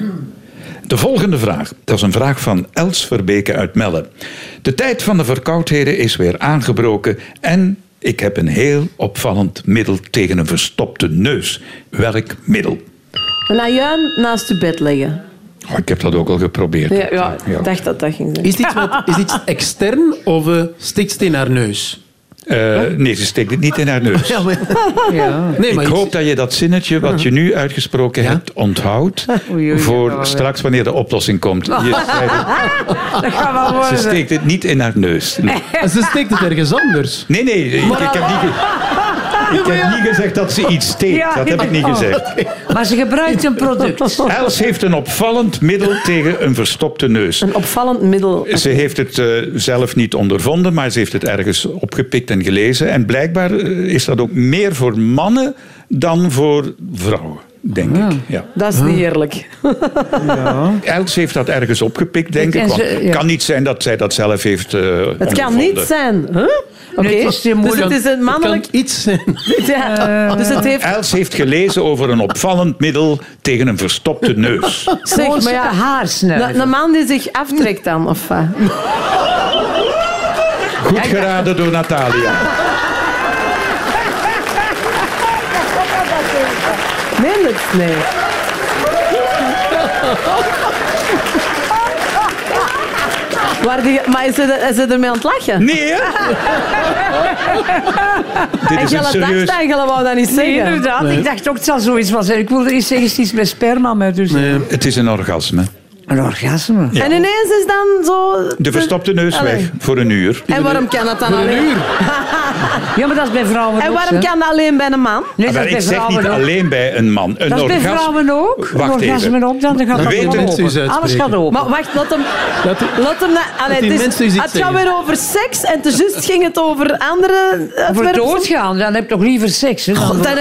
Speaker 4: De volgende vraag, dat is een vraag van Els Verbeke uit Melle. De tijd van de verkoudheden is weer aangebroken en ik heb een heel opvallend middel tegen een verstopte neus. Welk middel?
Speaker 5: Een ajuin naast je bed leggen.
Speaker 4: Oh, ik heb dat ook al geprobeerd.
Speaker 5: Ja, ja, ik dacht dat dat ging zijn.
Speaker 7: Is dit iets, met- is dit iets extern of eh, stikt het in haar neus?
Speaker 4: Eh, nee, ze steekt het niet in haar neus.
Speaker 7: Ja, maar... Nee, maar
Speaker 4: Ah. ik
Speaker 7: iets-
Speaker 4: hoop dat je dat zinnetje wat je nu uitgesproken
Speaker 7: Ja?
Speaker 4: hebt onthoudt
Speaker 6: oei, oei,
Speaker 4: voor
Speaker 6: ja, ja.
Speaker 4: straks wanneer de oplossing komt. Je zei het,
Speaker 6: Dat gaat wel worden.
Speaker 4: ze steekt het niet in haar neus. Nee.
Speaker 7: Ze steekt het ergens anders.
Speaker 4: Nee, nee, ik, ik heb, niet ge- ik heb niet gezegd dat ze iets steekt.
Speaker 6: Ja,
Speaker 4: dat heb ik niet
Speaker 6: oh.
Speaker 4: gezegd.
Speaker 6: Maar ze gebruikt een product.
Speaker 4: Els heeft een opvallend middel tegen een verstopte neus.
Speaker 5: Een opvallend middel.
Speaker 4: Ze heeft het eh, zelf niet ondervonden, maar ze heeft het ergens opgepikt en gelezen. En blijkbaar eh, is dat ook meer voor mannen dan voor vrouwen. denk ik. Ja.
Speaker 5: Dat is niet eerlijk.
Speaker 4: Els heeft dat ergens opgepikt, denk ik.
Speaker 6: En
Speaker 4: want
Speaker 6: ze-
Speaker 4: Het
Speaker 6: ja.
Speaker 4: kan niet zijn dat zij dat zelf heeft eh
Speaker 5: Het kan
Speaker 4: ondervonden.
Speaker 5: niet zijn. Huh? Oké.
Speaker 6: Nee, het Eh, is te
Speaker 5: dus het
Speaker 6: moeilijk.
Speaker 5: is een mannelijk...
Speaker 7: kan iets zijn.
Speaker 5: Ja. Dus het heeft...
Speaker 4: Els heeft gelezen over een opvallend middel tegen een verstopte neus.
Speaker 5: Zeg, maar ja,
Speaker 6: haarsnuif.
Speaker 5: een- een man die zich aftrekt dan, of wat?
Speaker 4: Goed geraden door Natalia.
Speaker 5: Meen het? Nee. Waar die, maar is ze, is ze ermee aan het lachen?
Speaker 4: Nee, hè? Dit
Speaker 5: en
Speaker 4: is
Speaker 5: je
Speaker 4: een
Speaker 5: dacht
Speaker 4: serieus...
Speaker 5: eigenlijk wou dat niet
Speaker 6: Nee,
Speaker 5: zeggen.
Speaker 6: inderdaad. Ik dacht ook, het zal zoiets was. Ik wilde eerst zeggen, het is iets met sperma. Maar dus,
Speaker 4: Het is een orgasme.
Speaker 6: Een orgasme.
Speaker 5: En ineens is dan zo...
Speaker 4: De verstopte neus
Speaker 5: Allee.
Speaker 4: weg voor een uur.
Speaker 5: En waarom kan dat dan alleen?
Speaker 6: Ja, maar dat is bij vrouwen
Speaker 5: En
Speaker 6: ook,
Speaker 5: waarom
Speaker 6: hè.
Speaker 5: kan dat alleen bij een man?
Speaker 6: Nee,
Speaker 4: Ah, Maar
Speaker 6: dat
Speaker 4: ik
Speaker 6: is
Speaker 4: zeg
Speaker 6: bij
Speaker 4: niet
Speaker 6: vrouwen ook.
Speaker 4: alleen bij een man. Een
Speaker 6: Dat is bij
Speaker 4: orgasme-
Speaker 6: vrouwen ook.
Speaker 4: Wacht
Speaker 6: een orgasme
Speaker 4: even.
Speaker 6: op, dan gaat dat
Speaker 4: Weten
Speaker 6: gewoon
Speaker 7: mensen eens
Speaker 6: open. Alles
Speaker 7: uitspreken.
Speaker 6: gaat open.
Speaker 5: Maar wacht, laat hem...
Speaker 7: Laat-
Speaker 5: Laat hem na- Allee,
Speaker 7: die
Speaker 5: het is-
Speaker 7: mensen eens iets
Speaker 5: het gaat
Speaker 7: zeggen.
Speaker 5: weer over seks en te juist ging het over andere... eh,
Speaker 6: voor
Speaker 5: onderwerpen.
Speaker 6: doodgaan, dan heb je toch liever seks. Hè, dan-
Speaker 5: Dan,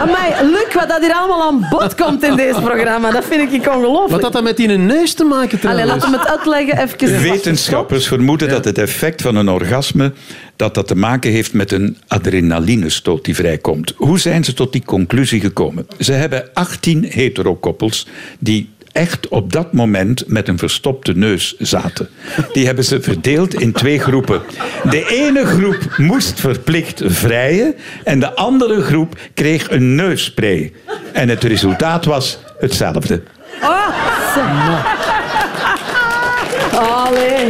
Speaker 5: amai, Luc, wat dat hier allemaal aan bod komt in deze programma, dat vind ik
Speaker 7: Wat
Speaker 5: ongelooflijk.
Speaker 7: had dat met die neus te maken
Speaker 5: Allee,
Speaker 7: trouwens?
Speaker 5: laat hem het uitleggen even.
Speaker 4: Wetenschappers vermoeden dat het effect van een orgasme dat dat te maken heeft met een adrenalinestoot die vrijkomt. Hoe zijn ze tot die conclusie gekomen? Ze hebben 18 heterokoppels die echt op dat moment met een verstopte neus zaten. Die hebben ze verdeeld in twee groepen. De ene groep moest verplicht vrijen en de andere groep kreeg een neusspray. En het resultaat was hetzelfde.
Speaker 5: Oh. Allee.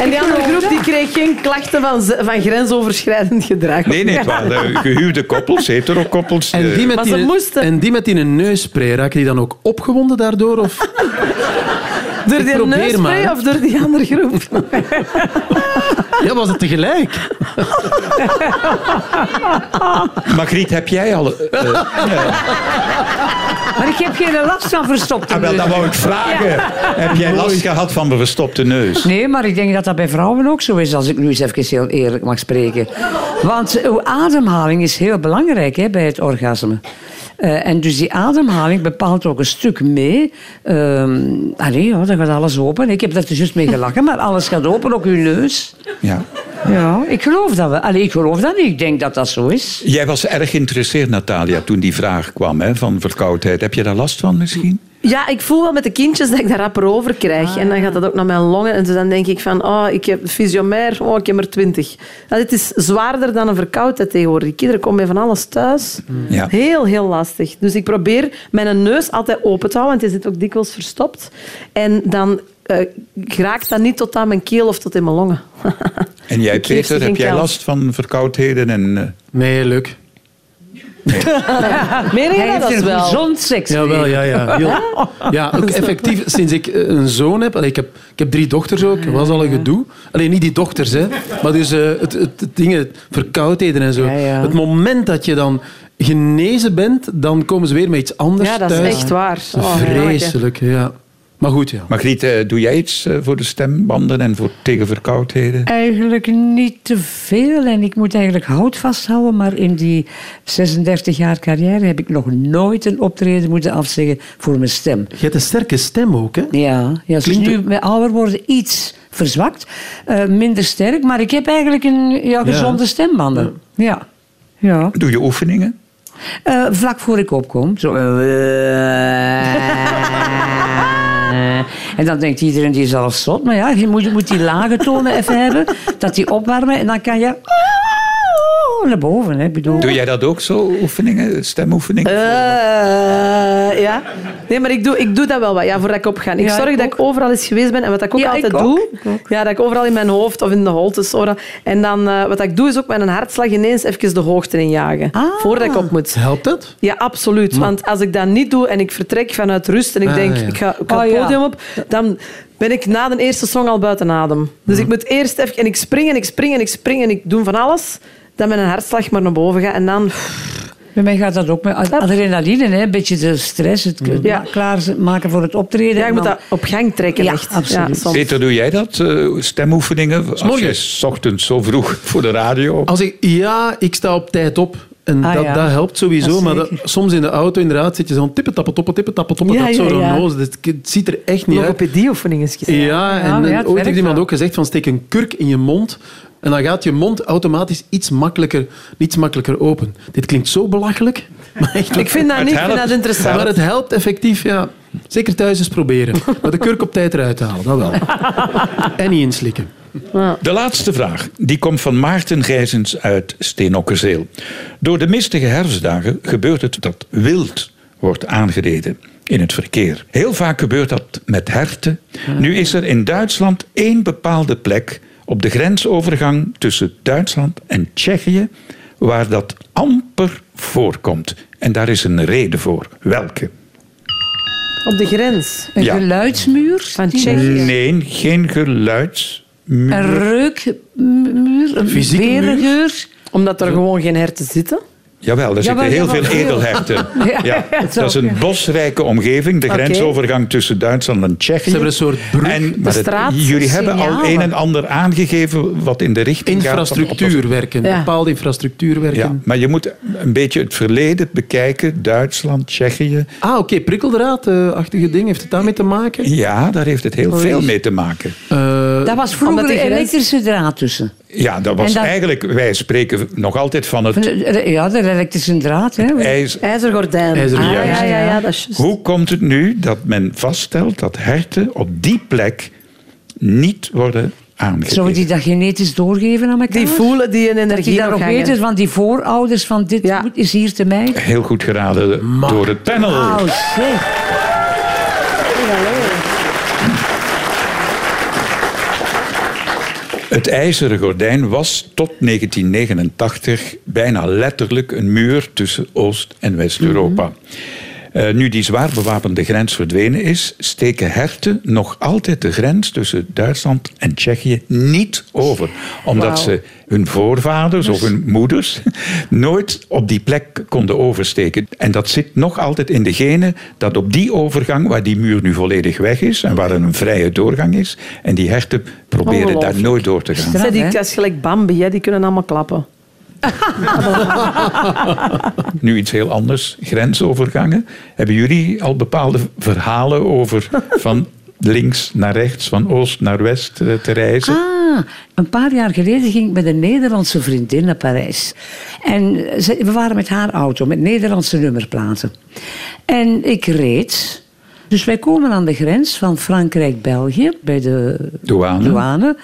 Speaker 5: En die andere groep die kreeg geen klachten van, z- van grensoverschrijdend gedrag.
Speaker 4: Nee, nee, het waren gehuwde koppels, heterokoppels.
Speaker 7: En
Speaker 4: eh,
Speaker 7: die, met
Speaker 5: Maar ze
Speaker 7: die,
Speaker 5: moesten.
Speaker 7: en die met die neusspray, raken die dan ook opgewonden daardoor? Of?
Speaker 5: Door die
Speaker 7: probeer
Speaker 5: neusspray
Speaker 7: maar.
Speaker 5: of door die andere groep?
Speaker 7: Ja, was het tegelijk?
Speaker 4: Margriet, heb jij al... eh,
Speaker 6: Maar ik heb geen last van verstopte
Speaker 4: ah, wel, dat
Speaker 6: neuzen.
Speaker 4: wou ik vragen. Heb jij last gehad van mijn verstopte neus?
Speaker 6: Nee, maar ik denk dat dat bij vrouwen ook zo is, als ik nu eens even heel eerlijk mag spreken. Want uw ademhaling is heel belangrijk hè, bij het orgasme. Eh, en dus die ademhaling bepaalt ook een stuk mee. Ehm allee, ja, dan gaat alles open. Ik heb daar dus juist mee gelachen, maar alles gaat open, ook uw neus.
Speaker 4: Ja.
Speaker 6: Ja, ik geloof dat wel. Allee, ik geloof dat niet. Ik denk dat dat zo is.
Speaker 4: Jij was erg geïnteresseerd, Natalia, toen die vraag kwam hè, van verkoudheid. Heb je daar last van misschien?
Speaker 5: Ja, ik voel wel met de kindjes dat ik daar rapper over krijg. En dan gaat dat ook naar mijn longen. En dus dan denk ik van, oh, ik heb fysiomair, oh, ik heb er twintig. dit is zwaarder dan een verkoudheid tegenwoordig. Die kinderen komen bij van alles thuis.
Speaker 4: Ja.
Speaker 5: Heel, heel lastig. Dus ik probeer mijn neus altijd open te houden, want die zit ook dikwijls verstopt. En dan eh raakt dat niet tot aan mijn keel of tot in mijn longen.
Speaker 4: En jij,
Speaker 5: Ik geef ze
Speaker 4: Peter, heb
Speaker 5: geen
Speaker 4: jij
Speaker 5: kans.
Speaker 4: last van verkoudheden? En, eh,
Speaker 7: Nee, leuk.
Speaker 5: Ah, Meen
Speaker 6: Hij
Speaker 5: je
Speaker 6: heeft
Speaker 5: dat
Speaker 6: een
Speaker 5: wel?
Speaker 6: gezond seks.
Speaker 7: Jawel, ja, ja. Heel- ja, ook effectief, sinds ik eh, een zoon heb... allee, ik, heb ik heb drie dochters ook,
Speaker 6: Ah,
Speaker 7: was al een gedoe. Alleen niet die dochters, hè. Maar dus eh, het, het, het dingen, verkoudheden en zo.
Speaker 6: Ja, ja.
Speaker 7: Het moment dat je dan genezen bent, dan komen ze weer met iets anders
Speaker 5: Ja, dat is
Speaker 7: thuis.
Speaker 5: echt waar. Oh,
Speaker 7: Vreselijk, ja. Maar goed, ja.
Speaker 4: Margriet, eh, doe jij iets eh, voor de stembanden en voor, tegen verkoudheden?
Speaker 6: Eigenlijk niet te veel. En ik moet eigenlijk hout vasthouden. Maar in die 36 jaar carrière heb ik nog nooit een optreden moeten afzeggen voor mijn stem.
Speaker 7: Je hebt een sterke stem ook, hè?
Speaker 6: Ja, ja ze is
Speaker 7: Klinkt-
Speaker 6: nu met ouder worden iets verzwakt. eh, minder sterk. Maar ik heb eigenlijk een ja, gezonde stembanden. Ja. ja.
Speaker 4: Doe je oefeningen?
Speaker 6: Eh, vlak voor ik opkom. Zo. eh, En dan denkt iedereen die is al zot. Maar ja, je moet, je moet die lage tonen even hebben. Dat die opwarmen. En dan kan je naar boven. Hè, Ik bedoel.
Speaker 4: Doe jij dat ook zo, oefeningen, stemoefeningen?
Speaker 5: Eh, ja. Nee, maar ik doe, ik doe dat wel wat, ja, voordat ik opga. Ik
Speaker 6: Ja,
Speaker 5: zorg
Speaker 6: ik
Speaker 5: dat
Speaker 6: ook.
Speaker 5: ik overal eens geweest ben. En wat ik ook
Speaker 6: Ja, ik
Speaker 5: altijd
Speaker 6: ook.
Speaker 5: doe...
Speaker 6: Ik ook.
Speaker 5: Ja, dat ik overal in mijn hoofd of in de holtes... Overal. En dan, eh, wat ik doe, is ook met een hartslag ineens even de hoogte injagen.
Speaker 6: Ah.
Speaker 5: Voordat ik op moet.
Speaker 7: Helpt dat?
Speaker 5: Ja, absoluut. Want als ik dat niet doe en ik vertrek vanuit rust en ik
Speaker 7: Ah,
Speaker 5: denk,
Speaker 7: ja.
Speaker 5: ik ga, ik ga
Speaker 6: Oh,
Speaker 5: het
Speaker 6: ja.
Speaker 5: podium op, dan ben ik na de eerste song al buiten adem. Dus
Speaker 7: Hm.
Speaker 5: ik moet eerst even... En ik spring en ik spring en ik spring en ik doe van alles. Dan met een hartslag maar naar boven ga. En dan...
Speaker 6: Bij mij gaat dat ook met ad- adrenaline. Hè, een beetje de stress. Het
Speaker 5: Ja.
Speaker 6: klaar klaarmaken voor het optreden.
Speaker 5: Ja, je
Speaker 6: en
Speaker 5: moet
Speaker 6: dan-
Speaker 5: dat op gang trekken,
Speaker 6: Ja,
Speaker 5: echt.
Speaker 6: absoluut.
Speaker 5: soms.
Speaker 4: Peter, doe jij dat? eh, stemoefeningen? Als
Speaker 7: morgens.
Speaker 4: jij 's ochtends zo vroeg voor de radio...
Speaker 7: Als ik, ja, ik sta op tijd op. En
Speaker 6: Ah,
Speaker 7: dat,
Speaker 6: ja.
Speaker 7: dat helpt sowieso.
Speaker 6: Ja,
Speaker 7: maar dat-
Speaker 6: zeker.
Speaker 7: soms in de auto inderdaad zit je zo'n tippetappentoppen, tippetappentoppen.
Speaker 6: Ja,
Speaker 7: dat
Speaker 6: ja,
Speaker 7: zo
Speaker 6: ja.
Speaker 7: noos. Dus het- het ziet er echt niet uit.
Speaker 5: Logopedieoefeningen.
Speaker 7: Ja, en,
Speaker 6: maar ja,
Speaker 7: en ooit
Speaker 6: het
Speaker 7: heeft
Speaker 6: werkt
Speaker 7: iemand
Speaker 6: wel.
Speaker 7: ook gezegd van steek een kurk in je mond en dan gaat je mond automatisch iets makkelijker, iets makkelijker open. Dit klinkt zo belachelijk, maar echt
Speaker 5: Ik vind dat
Speaker 4: Het
Speaker 5: niet, ik vind
Speaker 4: helpt.
Speaker 5: dat interessant.
Speaker 7: maar het helpt effectief, ja. Zeker thuis eens proberen. Maar de kurk op tijd eruit halen, dat wel. En niet inslikken.
Speaker 4: De laatste vraag, die komt van Maarten Gijzens uit Steenokkerzeel. Door de mistige herfstdagen gebeurt het dat wild wordt aangereden in het verkeer. Heel vaak gebeurt dat met herten. Nu is er in Duitsland één bepaalde plek op de grensovergang tussen Duitsland en Tsjechië waar dat amper voorkomt. En daar is een reden voor. Welke?
Speaker 5: Op de grens.
Speaker 6: Een
Speaker 4: Ja.
Speaker 6: geluidsmuur.
Speaker 5: Van
Speaker 6: die-
Speaker 5: Tsjechië.
Speaker 4: Nee, geen geluids.
Speaker 6: Een reukmuur. Een
Speaker 7: Fysieke muur?
Speaker 6: berengeur.
Speaker 5: Omdat er gewoon geen herten zitten.
Speaker 4: Jawel, daar
Speaker 6: Jawel,
Speaker 4: zitten heel
Speaker 6: jawel,
Speaker 4: veel
Speaker 6: heel.
Speaker 4: edelherten.
Speaker 6: Ja,
Speaker 4: ja,
Speaker 6: zo,
Speaker 4: dat is een bosrijke omgeving, de
Speaker 5: Oké.
Speaker 4: grensovergang tussen Duitsland en Tsjechië.
Speaker 7: Ze hebben een soort brug.
Speaker 4: En, maar het-
Speaker 5: straat,
Speaker 4: jullie hebben al
Speaker 5: signalen.
Speaker 4: een en ander aangegeven wat in de richting gaat. van
Speaker 7: Infrastructuur werken,
Speaker 5: Ja.
Speaker 7: bepaalde infrastructuur werken.
Speaker 4: Ja, maar je moet een beetje het verleden bekijken. Duitsland, Tsjechië.
Speaker 7: Ah, oké, prikkeldraadachtige ding, heeft het daarmee te maken?
Speaker 4: Ja, daar heeft het heel veel mee te maken.
Speaker 7: Eh,
Speaker 6: Daar was
Speaker 5: Omdat
Speaker 6: vroeger
Speaker 5: die
Speaker 6: een
Speaker 5: grens-
Speaker 6: elektrische draad tussen.
Speaker 4: Ja, dat was
Speaker 6: En dat-
Speaker 4: eigenlijk... Wij spreken nog altijd van
Speaker 6: Van
Speaker 4: het
Speaker 6: de- Ja, de elektrische draad. Hè.
Speaker 4: ijs,
Speaker 5: IJzergordijn.
Speaker 7: IJzeren
Speaker 5: ah,
Speaker 7: gordijn.
Speaker 5: ja, ja, ja, dat is juist.
Speaker 4: Hoe komt het nu dat men vaststelt dat herten op die plek niet worden aangegeven?
Speaker 6: Zouden die dat genetisch doorgeven aan elkaar?
Speaker 5: Die voelen die een
Speaker 6: Dat je
Speaker 5: energie
Speaker 6: dat nog
Speaker 5: hangen.
Speaker 6: weet, dus van die voorouders van dit
Speaker 5: Ja.
Speaker 6: moet- is hier te mij.
Speaker 4: Heel goed geraden door het panel.
Speaker 6: Oh, shit.
Speaker 4: Het ijzeren gordijn was tot 1989 bijna letterlijk een muur tussen Oost- en West-Europa. Eh, nu die zwaar bewapende grens verdwenen is, steken herten nog altijd de grens tussen Duitsland en Tsjechië niet over. Omdat ze hun voorvaders of hun moeders nooit op die plek konden oversteken. En dat zit nog altijd in de genen dat op die overgang, waar die muur nu volledig weg is en waar er een vrije doorgang is, en die herten proberen daar
Speaker 5: Ongelooflijk.
Speaker 4: nooit door te gaan.
Speaker 5: Zij, die,
Speaker 6: Hè?
Speaker 5: dat is gelijk Bambi, hè. die kunnen allemaal klappen.
Speaker 4: Nu iets heel anders, grensovergangen. Hebben jullie al bepaalde verhalen over van links naar rechts, van oost naar west eh, te reizen?
Speaker 6: Ah, een paar jaar geleden ging ik met een Nederlandse vriendin naar Parijs. En ze- we waren met haar auto, met Nederlandse nummerplaten. En ik reed. Dus wij komen aan de grens van Frankrijk-België, bij de
Speaker 4: Douane.
Speaker 6: douane.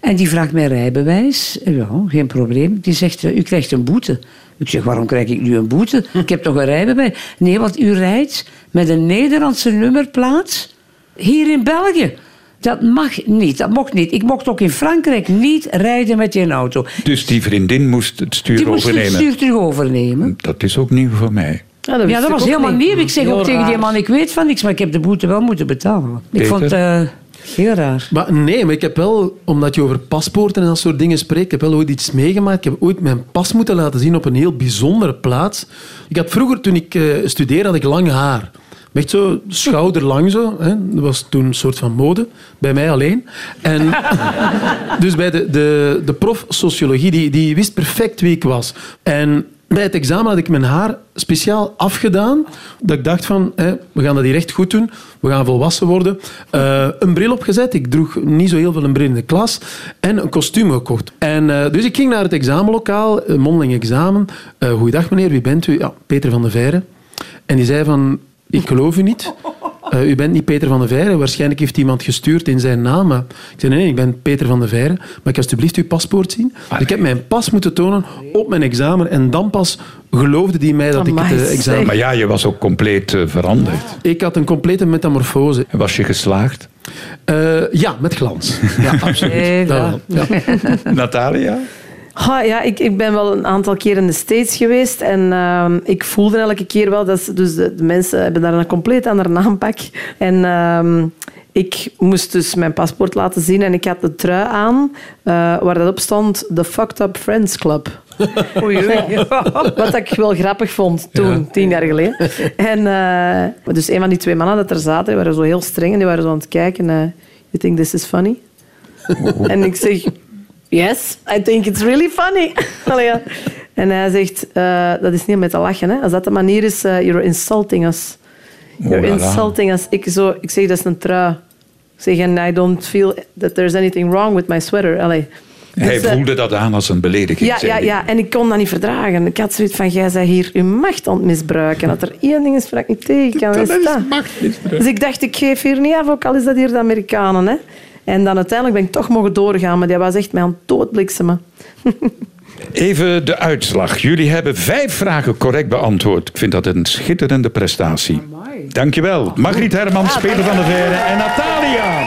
Speaker 6: En die vraagt mij rijbewijs. Ja, geen probleem. Die zegt, eh, u krijgt een boete. Ik zeg, waarom krijg ik nu een boete? Ik heb toch een rijbewijs? Nee, want u rijdt met een Nederlandse nummerplaat hier in België. Dat mag niet, dat mocht niet. Ik mocht ook in Frankrijk niet rijden met die auto.
Speaker 4: Dus die vriendin moest het stuur
Speaker 6: Die moest het
Speaker 4: overnemen.
Speaker 6: stuur terug overnemen.
Speaker 4: Dat is ook nieuw voor mij.
Speaker 5: Ja,
Speaker 6: Ja, dat was helemaal nieuw. Ik zeg ook tegen die man, ik weet van niks, maar ik heb de boete wel moeten betalen. Ik
Speaker 4: Peter?
Speaker 6: vond het eh, heel raar.
Speaker 7: Maar nee, maar ik heb wel, omdat je over paspoorten en dat soort dingen spreekt, ik heb wel ooit iets meegemaakt. Ik heb ooit mijn pas moeten laten zien op een heel bijzondere plaats. Ik had vroeger, toen ik eh, studeerde, had ik lang haar. Echt zo schouderlang zo. Hè. Dat was toen een soort van mode, bij mij alleen. En dus bij de, de, de prof sociologie, die, die wist perfect wie ik was. En bij het examen had ik mijn haar speciaal afgedaan. Dat ik dacht van, hè, we gaan dat hier echt goed doen. We gaan volwassen worden. Eh, een bril opgezet. Ik droeg niet zo heel veel een bril in de klas. En een kostuum gekocht. En, eh, dus ik ging naar het examenlokaal, een mondeling examen. Eh goeiedag meneer, wie bent u? Ja, Peter van der Veire. En die zei van, ik geloof u niet. Eh, u bent niet Peter van de Veire. Waarschijnlijk heeft iemand gestuurd in zijn naam. Maar ik zei, nee, nee, ik ben Peter van de Veire. Mag ik alstublieft uw paspoort zien? Dus ik heb mijn pas moeten tonen op mijn examen. En dan pas geloofde die mij dat ik
Speaker 5: Amai,
Speaker 7: het eh, examen...
Speaker 5: zeg.
Speaker 4: Maar ja, je was ook compleet eh, veranderd.
Speaker 7: Ik had een complete metamorfose.
Speaker 4: Was je geslaagd?
Speaker 7: Eh, ja, met glans. Ja, absoluut.
Speaker 6: Eh,
Speaker 7: Dat
Speaker 6: ja.
Speaker 7: wel, ja.
Speaker 4: Natalia?
Speaker 5: Ah, ja, ik, ik ben wel een aantal keer in de States geweest en ehm, ik voelde elke keer wel dat ze, dus de, de mensen hebben daar een compleet ander naampak. En ehm, ik moest dus mijn paspoort laten zien en ik had de trui aan eh, waar dat op stond The Fucked Up Friends Club. Wat ik wel grappig vond toen, tien jaar geleden. En eh, dus een van die twee mannen dat er zaten, die waren zo heel streng en die waren zo aan het kijken. eh, you think this is funny?
Speaker 4: Oh.
Speaker 5: En ik zeg, yes, I think it's really funny. Allee, ja. En hij zegt, eh, dat is niet om mee te lachen, hè. als dat de manier is, eh, you're insulting us. You're
Speaker 4: Oh, la, la.
Speaker 5: insulting us. Ik, zo, ik zeg, dat is een trui. Ik zeg, and I don't feel that there's anything wrong with my sweater. Allee.
Speaker 4: Hij
Speaker 5: Dus, eh,
Speaker 4: voelde dat aan als een belediging.
Speaker 5: ja,
Speaker 4: zei
Speaker 5: ja,
Speaker 4: hij.
Speaker 5: ja, en ik kon dat niet verdragen. Ik had zoiets van, jij zei hier uw macht aan het misbruiken. Dat er één ding is waar ik niet tegen kan, is dat. Dus ik dacht, ik geef hier niet af, ook al is dat hier de Amerikanen. Hè. En dan uiteindelijk ben ik toch mogen doorgaan, maar die was echt mij aan het doodbliksemen.
Speaker 4: Even de uitslag. Jullie hebben vijf vragen correct beantwoord. Ik vind dat een schitterende prestatie. Dankjewel. Margriet Hermans, Peter van der Veire en Natalia.